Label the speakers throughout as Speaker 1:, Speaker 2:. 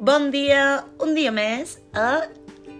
Speaker 1: Bon dia, un dia més a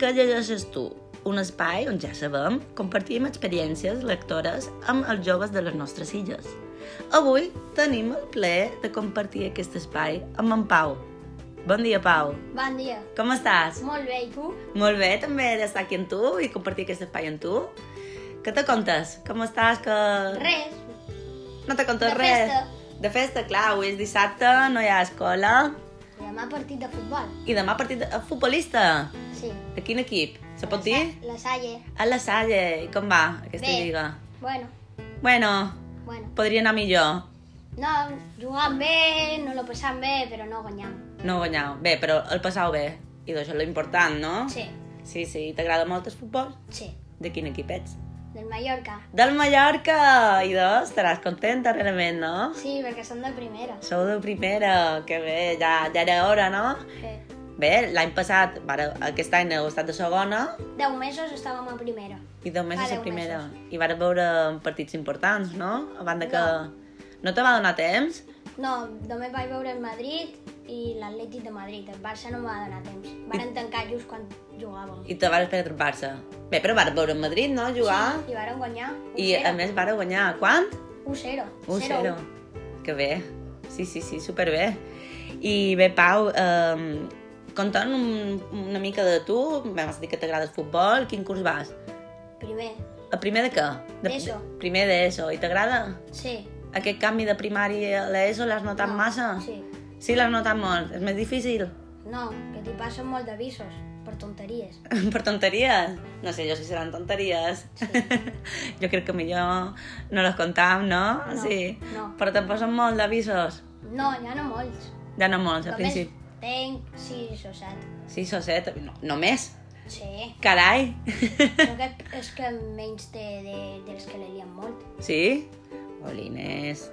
Speaker 1: Què llegeixes tu? Un espai on ja sabem, compartim experiències lectores amb els joves de les nostres illes. Avui tenim el plaer de compartir aquest espai amb en Pau. Bon dia, Pau.
Speaker 2: Bon dia.
Speaker 1: Com estàs?
Speaker 2: Molt bé, i tu?
Speaker 1: Molt bé, també d'estar aquí amb tu i compartir aquest espai amb tu. Què te contes? Com estàs? Que...
Speaker 2: Res.
Speaker 1: No te contes
Speaker 2: De
Speaker 1: res.
Speaker 2: festa.
Speaker 1: De festa, clar, avui és dissabte, no hi ha escola.
Speaker 2: Demà partit de futbol.
Speaker 1: I demà partit de... futbolista.
Speaker 2: Sí.
Speaker 1: De quin equip? Se pot
Speaker 2: La
Speaker 1: dir?
Speaker 2: Sa- La Salle.
Speaker 1: A la Salle. I com va aquesta
Speaker 2: Bé.
Speaker 1: lliga?
Speaker 2: Bueno,
Speaker 1: Bueno,
Speaker 2: bueno.
Speaker 1: podria anar millor.
Speaker 2: No, jugant bé, no lo passam bé, però no guanyam.
Speaker 1: No guanyau. Bé, però el passau bé. I això és l'important, no?
Speaker 2: Sí,
Speaker 1: Sí, sí. T'agrada molt el futbol?
Speaker 2: sí.
Speaker 1: De quin equip ets?
Speaker 2: Del Mallorca.
Speaker 1: Del Mallorca! I dos, estaràs content darrerament, no?
Speaker 2: Sí, perquè són de primera.
Speaker 1: Sou de primera, que bé, ja, ja era hora, no?
Speaker 2: Sí.
Speaker 1: Bé, l'any passat, ara, aquest any heu estat de segona,
Speaker 2: Deu mesos estàvem a primera.
Speaker 1: I deu mesos
Speaker 2: Fa
Speaker 1: a
Speaker 2: deu
Speaker 1: primera. I varen veure partits importants, no? A banda que...
Speaker 2: No.
Speaker 1: No te va donar temps?
Speaker 2: No, només vaig veure el Madrid i l'Atlètic de Madrid. El Barça no em va donar temps. Varen tancar just quan jugàvem.
Speaker 1: I te vas perdre el Barça. Bé, però varen veure el Madrid, no? Jugar.
Speaker 2: I varen guanyar
Speaker 1: Ah. I a
Speaker 2: 1-0.
Speaker 1: més varen guanyar. Quant?
Speaker 2: 1-0.
Speaker 1: 1-0. Que bé. Sí, sí, sí, superbé. I bé, Pau, eh, contant un, una mica de tu, Bé, m'has dit que t'agrada el futbol, quin curs vas?
Speaker 2: Primer.
Speaker 1: El primer de què? De,
Speaker 2: D'ESO.
Speaker 1: Primer d'ESO. I t'agrada?
Speaker 2: Sí.
Speaker 1: Aquest canvi de primària a l'ESO l'has notat
Speaker 2: No,
Speaker 1: massa?
Speaker 2: Sí.
Speaker 1: Sí, l'has notat molt. És més difícil.
Speaker 2: No, que t'hi passen molt d'avisos, per tonteries.
Speaker 1: Per tonteries? No sé, jo si seran tonteries.
Speaker 2: Sí.
Speaker 1: jo crec que millor no les contam, no?
Speaker 2: No,
Speaker 1: Ah, sí.
Speaker 2: no.
Speaker 1: Però te'n posen molt d'avisos.
Speaker 2: No, ja no molts.
Speaker 1: Ja no molts, al
Speaker 2: Només
Speaker 1: principi.
Speaker 2: tenc 6 o 7.
Speaker 1: Sis o set, no, només.
Speaker 2: Sí,
Speaker 1: Carai!
Speaker 2: jo crec que és que menys de, de, dels que l'helien molt.
Speaker 1: sí? Olines.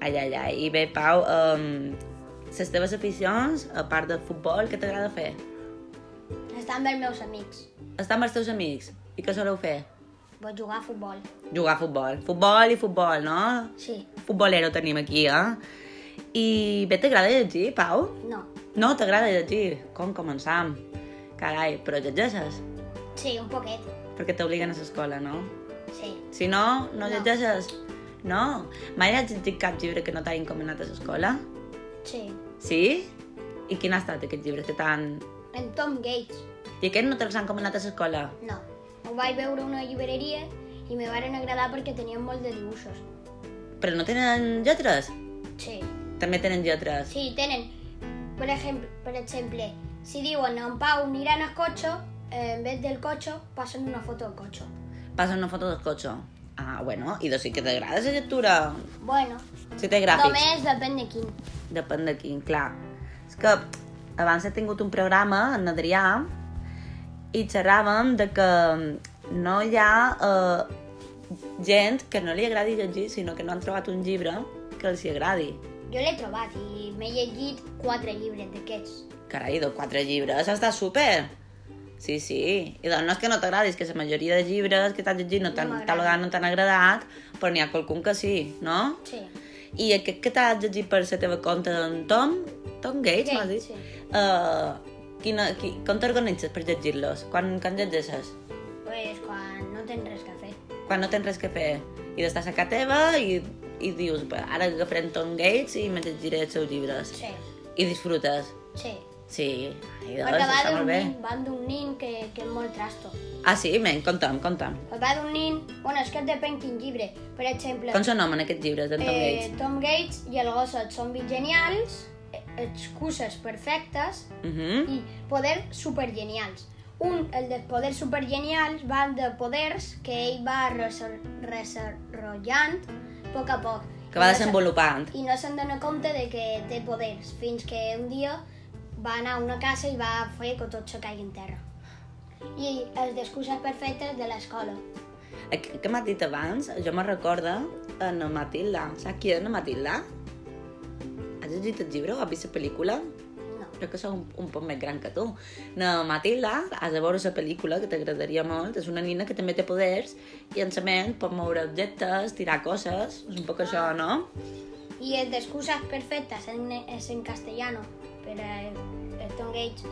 Speaker 1: Ai, ai, ai. I bé, Pau, um, les teves aficions, a part del futbol, què t'agrada fer?
Speaker 2: Estan bé els meus amics.
Speaker 1: Estar amb els teus amics. I què soleu fer?
Speaker 2: Vull jugar a futbol.
Speaker 1: Jugar a futbol. Futbol i futbol, no?
Speaker 2: Sí,
Speaker 1: Futbolero tenim aquí, eh? I bé, t'agrada llegir, Pau?
Speaker 2: no.
Speaker 1: No t'agrada llegir? Com començam? Carai, però llegeixes?
Speaker 2: Sí, un poquet.
Speaker 1: Perquè t'obliguen a l'escola, no?
Speaker 2: Sí.
Speaker 1: Si no, no
Speaker 2: No.
Speaker 1: llegeixes? No? Mai has llegit cap llibre que no t'hagin encomanat a l'escola?
Speaker 2: Sí.
Speaker 1: Sí? I quin ha estat aquest llibre que t'han...
Speaker 2: En Tom Gates.
Speaker 1: I aquest no te'ls han encomanat a l'escola?
Speaker 2: No. Ho vaig veure a una llibreria i me varen agradar perquè tenien molt de dibuixos.
Speaker 1: Però no tenen lletres?
Speaker 2: Sí.
Speaker 1: També tenen lletres.
Speaker 2: Sí, tenen, por ejemplo, por exemple, si digo en Pau unirán al cocho, eh, en vez del cocho, pasan una foto del cocho.
Speaker 1: Passa una foto del cotxe. Ah, bueno, i doncs sí que t'agrada la lectura.
Speaker 2: Bueno,
Speaker 1: Si té gràfics.
Speaker 2: només depèn de quin.
Speaker 1: Depèn de quin, clar. És que abans he tingut un programa, en Adrià, i xerràvem de que no hi ha eh, gent que no li agradi llegir, sinó que no han trobat un llibre que els hi agradi.
Speaker 2: Jo l'he trobat i m'he llegit quatre llibres d'aquests.
Speaker 1: Carai, dos, quatre llibres, està super! Sí, sí. I doncs no és que no t'agradi, és que la majoria de llibres que t'has llegit no t'han
Speaker 2: m'agraden.
Speaker 1: tal vegada no t'han agradat, però n'hi ha qualcun que sí, no?
Speaker 2: Sí.
Speaker 1: I aquest que t'has llegit per la teva compte d'en Tom, Tom Gates, m'has dit?
Speaker 2: Sí.
Speaker 1: Uh, quina, qui, com t'organitzes per llegir-los? Quan, quan llegeixes?
Speaker 2: Pues quan no tens res que fer.
Speaker 1: Quan no tens res que fer? I d'estàs a casa teva i, i dius, "Bé, ara agafaré en Tom Gates i me llegiré els seus llibres.
Speaker 2: Sí,
Speaker 1: I disfrutes.
Speaker 2: sí.
Speaker 1: Sí, Ai, doncs,
Speaker 2: Perquè va
Speaker 1: està
Speaker 2: d'un
Speaker 1: molt bé.
Speaker 2: nin, va d'un nin que, que és molt trasto.
Speaker 1: Ah, sí? Ben, conta'm, conta'm.
Speaker 2: Pues va d'un nin... Bueno, és que depèn quin llibre. Per exemple,
Speaker 1: Com s'anomen aquests llibres d'en Doncs Tom
Speaker 2: Eh,
Speaker 1: Gates?
Speaker 2: Tom Gates i el gosset són genials, eh, excuses perfectes
Speaker 1: Uh
Speaker 2: i poders supergenials. Un, el de poders supergenials, va de poders que ell va resor- desenvolupant a poc a poc.
Speaker 1: Que va
Speaker 2: I no se-
Speaker 1: desenvolupant.
Speaker 2: I no se'n dona compte de que té poders, fins que un dia va anar a una casa i va fer que tot se caigui en terra. I els d'excuses perfectes de l'escola.
Speaker 1: Aqu- Què m'has dit abans? Jo me recorda en Matilda. Saps qui és en Matilda? Has llegit el llibre o has vist la pel·lícula?
Speaker 2: No.
Speaker 1: crec que soc un, un poc més gran que tu. No, Matilda, has de veure la pel·lícula, que t'agradaria molt. És una nina que també té poders i en sa ment pot moure objectes, tirar coses, és un poc això, no?
Speaker 2: Y el de excusas perfectas en, es en castellano, pero eh, el Norton Gates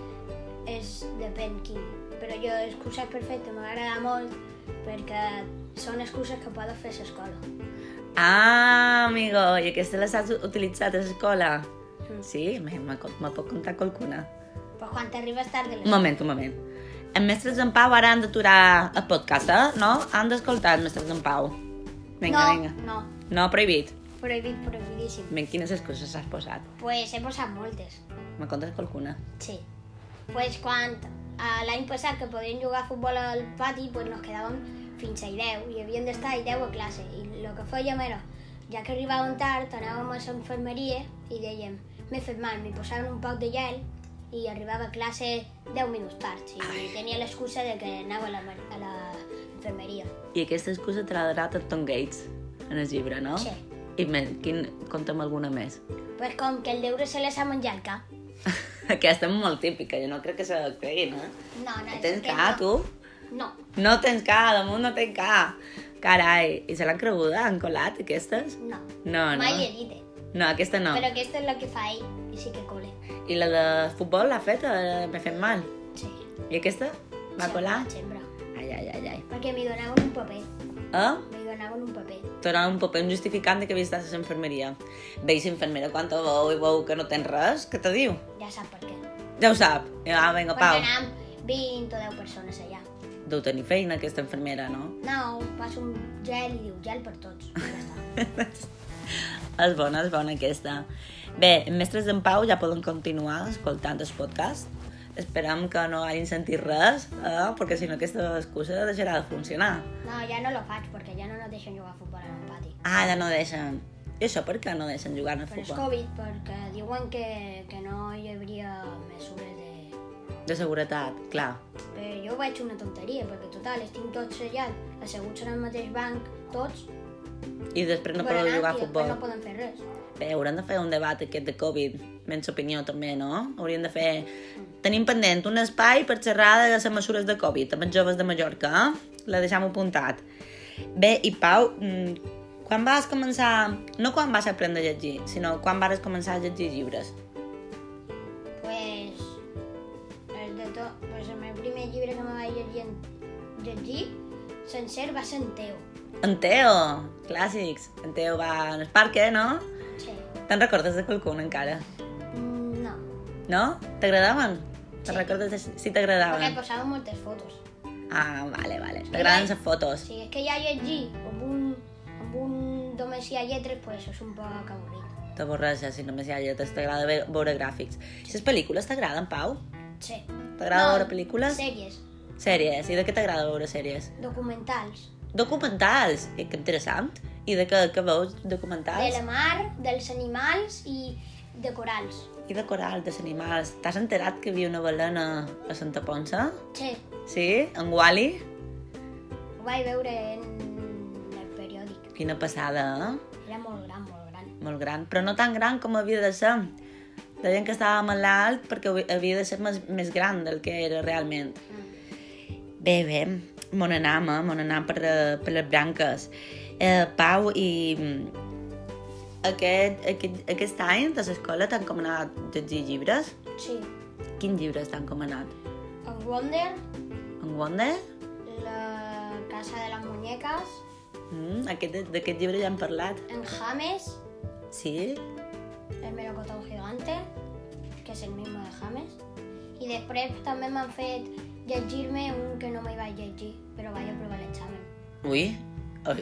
Speaker 2: és depèn quin. Però jo, excuses perfectes m'agrada molt perquè són excuses que poden fer a l'escola.
Speaker 1: Ah, amigo, i aquesta la saps utilitzat a l'escola? Sí, me, me, co- me pot contar qualcuna.
Speaker 2: Però Pues quan t'arribes tard de
Speaker 1: Un
Speaker 2: l'escola...
Speaker 1: moment, un moment. En Mestres en Pau ara han d'aturar el podcast, eh? No? Han d'escoltar el Mestres en Pau. Vinga,
Speaker 2: no,
Speaker 1: vinga.
Speaker 2: no,
Speaker 1: No, prohibit.
Speaker 2: prohibit, prohibidíssim.
Speaker 1: Ben, quines excuses has posat?
Speaker 2: Pues he posat moltes.
Speaker 1: Me contes qualcuna?
Speaker 2: Sí. Pues quan eh, l'any passat que podíem jugar a futbol al pati, pues nos quedàvem fins a 10 i havíem d'estar a 10 a classe. I el que fèiem era, ja que arribàvem tard, anàvem a l'infermeria i dèiem, m'he fet mal, m'hi posaven un poc de gel i arribava a classe 10 minuts tard. I tenia l'excusa de que anava a la, mar- a la infermeria.
Speaker 1: I aquesta excusa te l'ha donat el Tom Gates en el llibre, no?
Speaker 2: Sí.
Speaker 1: I me, quin, conta'm alguna més.
Speaker 2: Pues com que el deure se les ha menjat el cap.
Speaker 1: aquesta és molt típica, jo no crec que se la creguin, eh?
Speaker 2: No, no,
Speaker 1: No
Speaker 2: és
Speaker 1: tens
Speaker 2: que
Speaker 1: ca,
Speaker 2: no.
Speaker 1: tu?
Speaker 2: No,
Speaker 1: No tens ca, damunt no tens ca. Carai, i se l'han creguda, han colat aquestes?
Speaker 2: no.
Speaker 1: Ah, No, no.
Speaker 2: Mai he dit, eh?
Speaker 1: No, aquesta no.
Speaker 2: Però aquesta és la que fa ell, i sí que cole.
Speaker 1: I la de futbol l'ha fet, eh, m'he fet mal.
Speaker 2: Sí.
Speaker 1: I aquesta? Va colar?
Speaker 2: Sempre.
Speaker 1: Ai, ai, ai, ai.
Speaker 2: Perquè m'hi donaven un paper.
Speaker 1: Eh?
Speaker 2: M'hi donaven un paper.
Speaker 1: Tornar un paper, un justificant de que havies estat a l'infermeria. Veis, infermera, quan te veu i veu que no tens res, què te diu?
Speaker 2: Ja sap per què.
Speaker 1: Ja ho sap. Ah, vinga,
Speaker 2: Perquè
Speaker 1: Pau.
Speaker 2: anàvem 20 o 10 persones allà.
Speaker 1: Deu tenir feina, aquesta infermera, no?
Speaker 2: No, passa un gel i diu gel per tots. I Ja està.
Speaker 1: És bona, és bona aquesta. Bé, mestres d'en Pau ja poden continuar escoltant el podcast. Esperem que no hagin sentit res, eh? perquè si no aquesta excusa deixarà de funcionar.
Speaker 2: No, ja no lo faig perquè ja no nos deixen jugar a futbol en el pati.
Speaker 1: Ah, ja no deixen. I això per què no deixen jugar al
Speaker 2: Per el
Speaker 1: futbol?
Speaker 2: Covid, perquè diuen que, que no hi hauria mesures de...
Speaker 1: De seguretat, clar.
Speaker 2: Però jo vaig una tonteria, perquè total, estic tots allà, asseguts en el mateix banc, tots,
Speaker 1: I després no
Speaker 2: per
Speaker 1: poden
Speaker 2: anar,
Speaker 1: jugar a
Speaker 2: i després
Speaker 1: futbol.
Speaker 2: no poden fer res.
Speaker 1: Bé, hauran de fer un debat aquest de Covid, menys opinió també, no? Haurien de fer... Tenim pendent un espai per xerrar de les mesures de Covid amb els joves de Mallorca, eh? La deixam apuntat. Bé, i Pau, mm, quan vas començar... No quan vas aprendre a llegir, sinó quan vas començar a llegir llibres.
Speaker 2: Pues, el de tot, pues el meu primer llibre que me vaig llegir, en- llegir sencer va ser en teu.
Speaker 1: En Teo, clàssics. En Teo va al parc, eh, no?
Speaker 2: Sí.
Speaker 1: Te'n recordes de qualcun encara?
Speaker 2: Mm, No,
Speaker 1: No? T'agradaven? Te'n
Speaker 2: Sí.
Speaker 1: recordes de si
Speaker 2: perquè
Speaker 1: t'agradaven?
Speaker 2: posava moltes fotos.
Speaker 1: Ah, vale, vale. T'agraden les
Speaker 2: O
Speaker 1: fotos.
Speaker 2: sigui, és que ja llegir amb un, amb un només hi ha lletres, pues això és un poc avorrit.
Speaker 1: T'avorreixes si només hi ha lletres, t'agrada ve- veure gràfics. I les pel·lícules t'agraden, Pau?
Speaker 2: Sí.
Speaker 1: T'agrada veure pel·lícules?
Speaker 2: Sèries,
Speaker 1: Sèries. I de què t'agrada veure sèries?
Speaker 2: documentals,
Speaker 1: Documentals. I que interessant. I de què, què veus
Speaker 2: de
Speaker 1: documentals?
Speaker 2: la mar, dels animals i de corals.
Speaker 1: I de coral, dels animals. T'has enterat que hi havia una balena a Santa Ponsa?
Speaker 2: Sí,
Speaker 1: Sí? En Wally?
Speaker 2: ho vaig veure en el periòdic.
Speaker 1: Quina passada, eh?
Speaker 2: Era molt gran, molt gran.
Speaker 1: Molt gran. Però no tan gran com havia de ser. Deien que estava malalt perquè havi- havia de ser més, més gran del que era realment.
Speaker 2: Mm.
Speaker 1: Bé, bé, mon anam, eh? mon anam per, eh, per les branques. Eh, Pau, i mm, aquest, aquest, aquest any de l'escola t'han comanat llegir llibres?
Speaker 2: Sí,
Speaker 1: Quins llibres t'han comanat?
Speaker 2: en Wonder
Speaker 1: En Wonder?
Speaker 2: La casa de las muñecas,
Speaker 1: Mm, aquest, d'aquest llibre ja hem parlat.
Speaker 2: en James,
Speaker 1: Sí?
Speaker 2: el melocotón gigante, que és el mismo de James. I després també m'han fet llegir-me un que no me vaig llegir, però vaig aprovar l'examen.
Speaker 1: Ui,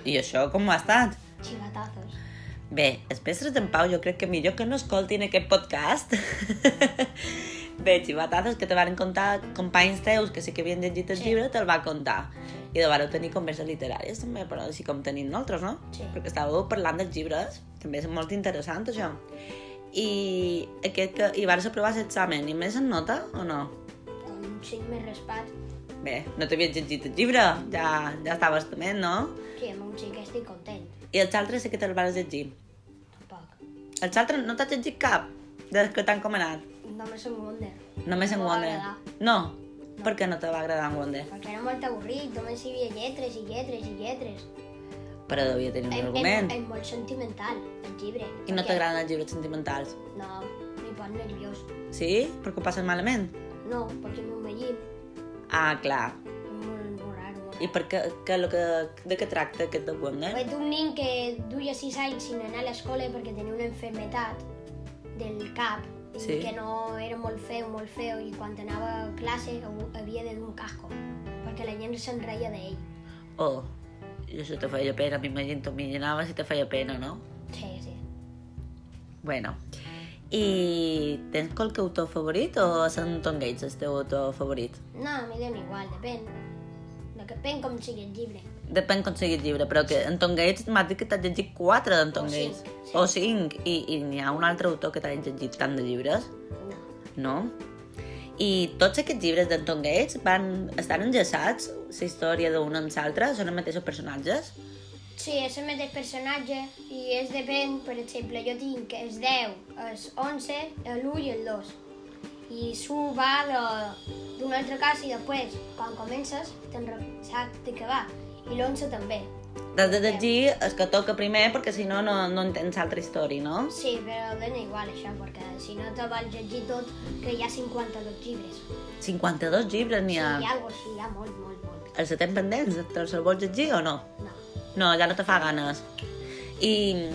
Speaker 1: i això com ha estat?
Speaker 2: Chivatazos.
Speaker 1: Bé, els mestres d'en Pau jo crec que millor que no escoltin aquest podcast.
Speaker 2: Mm.
Speaker 1: Bé, xivatazos que te van contar companys teus que sí que havien llegit el
Speaker 2: Sí.
Speaker 1: llibre, te'l va contar. I de vau tenir converses literàries també, però així com tenim nosaltres, no?
Speaker 2: Sí.
Speaker 1: Perquè estàveu parlant dels llibres, també és molt interessant això. I aquest que hi vas aprovar l'examen, i més en nota o no?
Speaker 2: Amb un cinc més respat.
Speaker 1: Bé, no t'havies llegit el llibre, ja, ja estaves també, no?
Speaker 2: Sí, amb un cinc estic content.
Speaker 1: I els altres sí que te'l vas llegir.
Speaker 2: Tampoc.
Speaker 1: Els altres no t'has llegit cap dels que t'han comanat?
Speaker 2: Només en Wonder.
Speaker 1: Només en
Speaker 2: No va
Speaker 1: Wonder.
Speaker 2: agradar.
Speaker 1: No, per què no te va agradar en Wonder?
Speaker 2: Perquè era molt avorrit, només hi havia lletres i lletres i lletres.
Speaker 1: Però devia tenir un
Speaker 2: És- és-
Speaker 1: argument.
Speaker 2: És molt sentimental, el llibre.
Speaker 1: I no
Speaker 2: Perquè-
Speaker 1: t'agraden els llibres sentimentals.
Speaker 2: No, m'hi i pot nerviós.
Speaker 1: Sí? Perquè ho passes malament?
Speaker 2: No, perquè m'ho vellin.
Speaker 1: Ah, clar.
Speaker 2: És molt, molt raro. Molt
Speaker 1: I per què, què, lo que, de què tracta aquest de Wonder?
Speaker 2: Fet un nen que duia 6 anys sin anar a l'escola perquè tenia una enfermetat del cap i
Speaker 1: Sí.
Speaker 2: que no era molt feu, molt feu, i quan anava a classe ho- havia de dur un casco, perquè la gent se'n reia d'ell.
Speaker 1: Oh, i això te feia pena, m'imagino, m'imaginava si te feia pena, no?
Speaker 2: Sí, sí.
Speaker 1: Bueno, i tens qualque autor favorit o és en Tom Gates el teu autor favorit?
Speaker 2: No, a mi dona igual, depèn. Depèn com sigui el llibre.
Speaker 1: Depèn com sigui el llibre, però que en Tom Gates m'has dit que t'has llegit quatre d'en Tom
Speaker 2: O cinc,
Speaker 1: Gates.
Speaker 2: sí.
Speaker 1: O cinc. I, i n'hi ha un altre autor que t'ha llegit tant de llibres,
Speaker 2: No.
Speaker 1: no? I tots aquests llibres d'en Tom Gates van, estan enllaçats, la història d'un amb l'altre, són els mateixos personatges?
Speaker 2: Sí, és el mateix personatge i és depèn, per exemple, jo tinc el 10, el 11, l'1 i el 2. I s'ho va de- d'un altre cas i després, quan comences, te'n re- saps de què va. I l'11 també.
Speaker 1: T'has de llegir el que toca primer perquè si no, no, no entens l'altra història, no?
Speaker 2: Sí, però dona igual això, perquè si no te vols llegir tot, que hi ha 52 llibres.
Speaker 1: 52 llibres n'hi
Speaker 2: Sí,
Speaker 1: ha.
Speaker 2: hi ha alguna cosa, hi ha molt, molt, molt.
Speaker 1: Els estem pendents, te'ls vols llegir o no?
Speaker 2: No.
Speaker 1: No, ja no te fa ganes. I,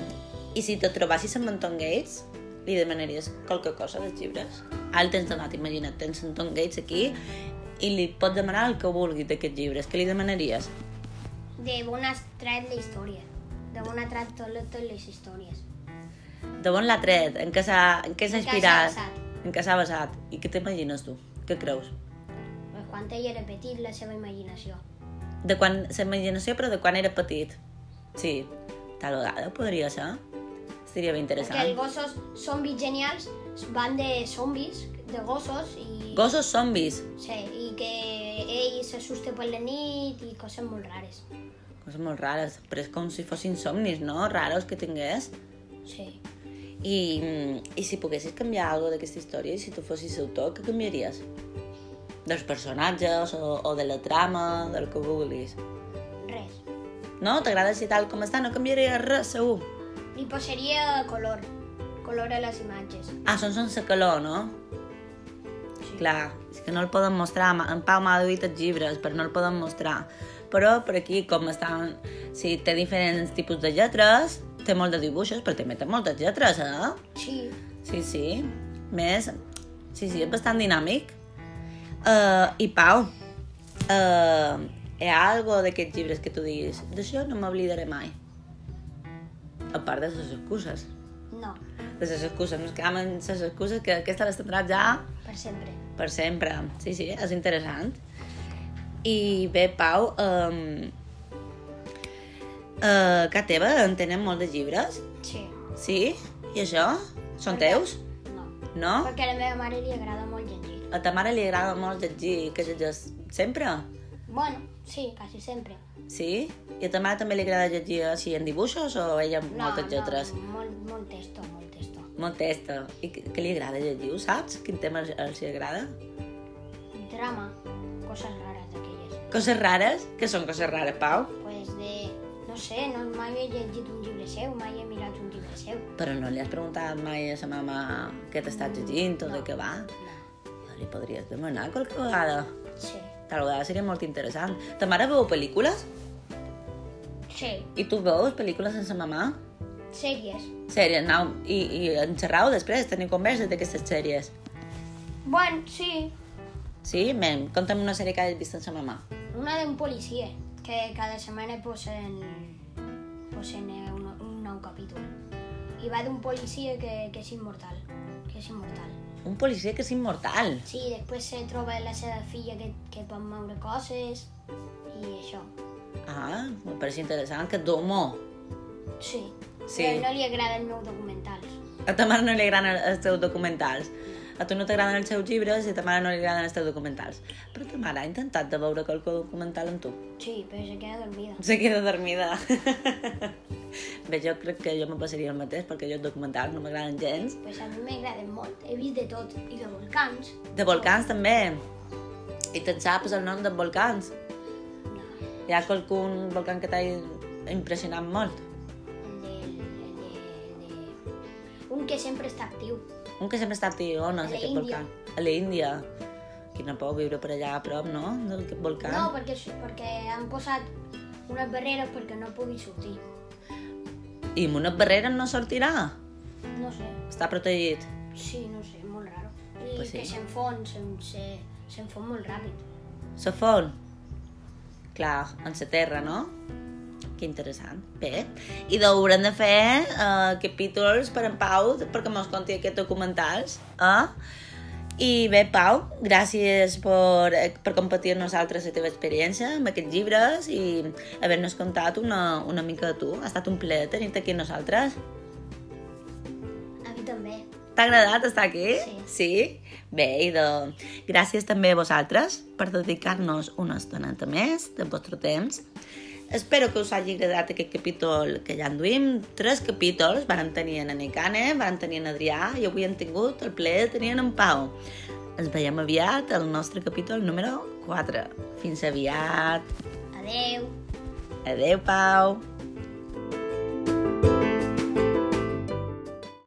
Speaker 1: i si te trobassis amb en Tom Gates, li demanaries qualque cosa dels llibres? Ara el tens donat, imagina't, tens en Tom Gates aquí i li pots demanar el que vulgui d'aquests llibres. Què li demanaries?
Speaker 2: De on has tret la història. De on ha tret tot, totes les històries.
Speaker 1: De on l'ha tret? En què s'ha en què s'ha
Speaker 2: En què s'ha
Speaker 1: inspirat?
Speaker 2: basat.
Speaker 1: En què s'ha basat? I què t'imagines tu? Què creus?
Speaker 2: Pues quan ell era petit, la seva imaginació.
Speaker 1: De quan, la imaginació, però de quan era petit. Sí, tal vegada podria ser. Seria ben
Speaker 2: Perquè els
Speaker 1: interessant.
Speaker 2: gossos zombis genials van de zombis, de gossos, i,
Speaker 1: Gossos zombis.
Speaker 2: sí, i que ell s'assusta per la nit i coses molt rares.
Speaker 1: Coses molt rares, però és com si fossin somnis, no? Raros que tingués.
Speaker 2: Sí.
Speaker 1: I, mm, i si poguessis canviar alguna d'aquesta història, i si tu fossis autor, què canviaries? Dels personatges o, o de la trama, del que vulguis.
Speaker 2: Res.
Speaker 1: No? T'agrada així tal com està? No canviaria res, segur.
Speaker 2: Li posaria pues color, color a les imatges.
Speaker 1: Ah, són sense calor, no?
Speaker 2: Sí.
Speaker 1: Clar, és que no el poden mostrar. Ma- En Pau m'ha duit els llibres, però no el poden mostrar. Però per aquí, com estan... Si té diferents tipus de lletres, té molt de dibuixos, però també té moltes lletres, eh?
Speaker 2: Sí.
Speaker 1: Sí, sí. Més... Sí, sí, és bastant dinàmic. Uh, I Pau, uh, hi ha algo d'aquests llibres que tu diguis d'això no m'oblidaré mai? A part de les excuses.
Speaker 2: No,
Speaker 1: De les excuses, ens quedam amb les excuses que aquesta les tindràs ja
Speaker 2: per sempre.
Speaker 1: per sempre. Sí, sí, és interessant. I bé, Pau, um, uh, que teva en tenen molt de llibres?
Speaker 2: Sí.
Speaker 1: Sí? I això? Són
Speaker 2: Perquè-
Speaker 1: teus?
Speaker 2: No.
Speaker 1: No?
Speaker 2: Perquè a la meva mare li agrada molt llegir.
Speaker 1: A ta mare li agrada molt llegir, que llegeix sempre?
Speaker 2: Bueno, sí, quasi sempre.
Speaker 1: Sí? I a ta mare també li agrada llegir així en dibuixos o ella amb
Speaker 2: No,
Speaker 1: moltes
Speaker 2: no,
Speaker 1: lletres?
Speaker 2: Molt, molt testo, molt testo.
Speaker 1: Molt testa. I què què li agrada llegir, ho saps? Quin tema els- els hi agrada?
Speaker 2: Drama, coses rares d'aquelles.
Speaker 1: Coses rares? que són coses rares, Pau?
Speaker 2: pues de... No sé, no, mai he llegit un llibre seu, mai he mirat un llibre seu.
Speaker 1: Però no li has preguntat mai a sa mama què t'estàs llegint o de
Speaker 2: No.
Speaker 1: què va?
Speaker 2: No.
Speaker 1: Li podries demanar qualque vegada.
Speaker 2: Sí.
Speaker 1: Tal vegada seria molt interessant. Ta mare veu pel·lícules?
Speaker 2: Sí.
Speaker 1: I tu veus pel·lícules sense mamà?
Speaker 2: Sèries.
Speaker 1: Sèries, anau, i, i enxerrau després, teniu converses d'aquestes sèries.
Speaker 2: Bueno, sí.
Speaker 1: Sí, men, conta'm una sèrie que hagis vist amb sa mamà.
Speaker 2: Una d'un policia, que cada setmana posen, posen eh, un, un nou capítol. I va d'un policia que, que és immortal. Que és immortal.
Speaker 1: Un policia que és immortal.
Speaker 2: Sí, després se troba la seva filla que, que pot moure coses i això.
Speaker 1: Ah, em pareix interessant, que d'humor.
Speaker 2: Sí.
Speaker 1: Sí.
Speaker 2: Però no li agraden meus documentals.
Speaker 1: A ta mare no li agraden els teus documentals. A tu no t'agraden els teus llibres i a ta mare no li agraden els teus documentals. Però ta mare ha intentat de veure qualque documental amb tu.
Speaker 2: Sí, però se queda dormida.
Speaker 1: Se queda dormida. Bé, jo crec que jo me passaria el mateix perquè jo els documentals no m'agraden gens.
Speaker 2: Pues a mi m'agraden molt, he vist de tot, i de volcans.
Speaker 1: De volcans també. I te'n saps el nom dels volcans.
Speaker 2: No,
Speaker 1: Hi ha qualcun volcán que t'ha impressionat molt.
Speaker 2: el de, el de, el de... Un que sempre està actiu.
Speaker 1: Un que sempre està a Tirona,
Speaker 2: A la
Speaker 1: aquest
Speaker 2: Índia.
Speaker 1: volcà. A la Índia. Quina por viure per allà a prop, no? D'aquest volcà.
Speaker 2: No, perquè, perquè han posat unes barreres perquè no pugui sortir.
Speaker 1: I amb unes barreres no sortirà.
Speaker 2: No sé,
Speaker 1: Està protegit.
Speaker 2: sí, no sé, molt raro. I
Speaker 1: Pues sí.
Speaker 2: que s'enfon, se'n- se- s'enfon molt ràpid.
Speaker 1: Se fon. Clar, en sa terra, no? Que interessant. Bé, i haurem de fer eh, capítols per en Pau perquè mos conti aquests documentals. Eh? I bé, Pau, gràcies per, eh, per compartir amb nosaltres la teva experiència amb aquests llibres i haver-nos contat una, una mica de tu. Ha estat un plaer tenir-te aquí amb nosaltres.
Speaker 2: A mi també.
Speaker 1: T'ha agradat estar aquí?
Speaker 2: Sí.
Speaker 1: Sí? Bé, i de... gràcies també a vosaltres per dedicar-nos una estoneta més del vostre temps. Espero que us hagi agradat aquest capítol que ja enduïm. Tres capítols van tenir en Anicane, van tenir en Adrià i avui hem tingut el plaer de tenir en Pau. Ens veiem aviat al nostre capítol número 4. Fins aviat.
Speaker 2: Adeu.
Speaker 1: Adeu, Pau.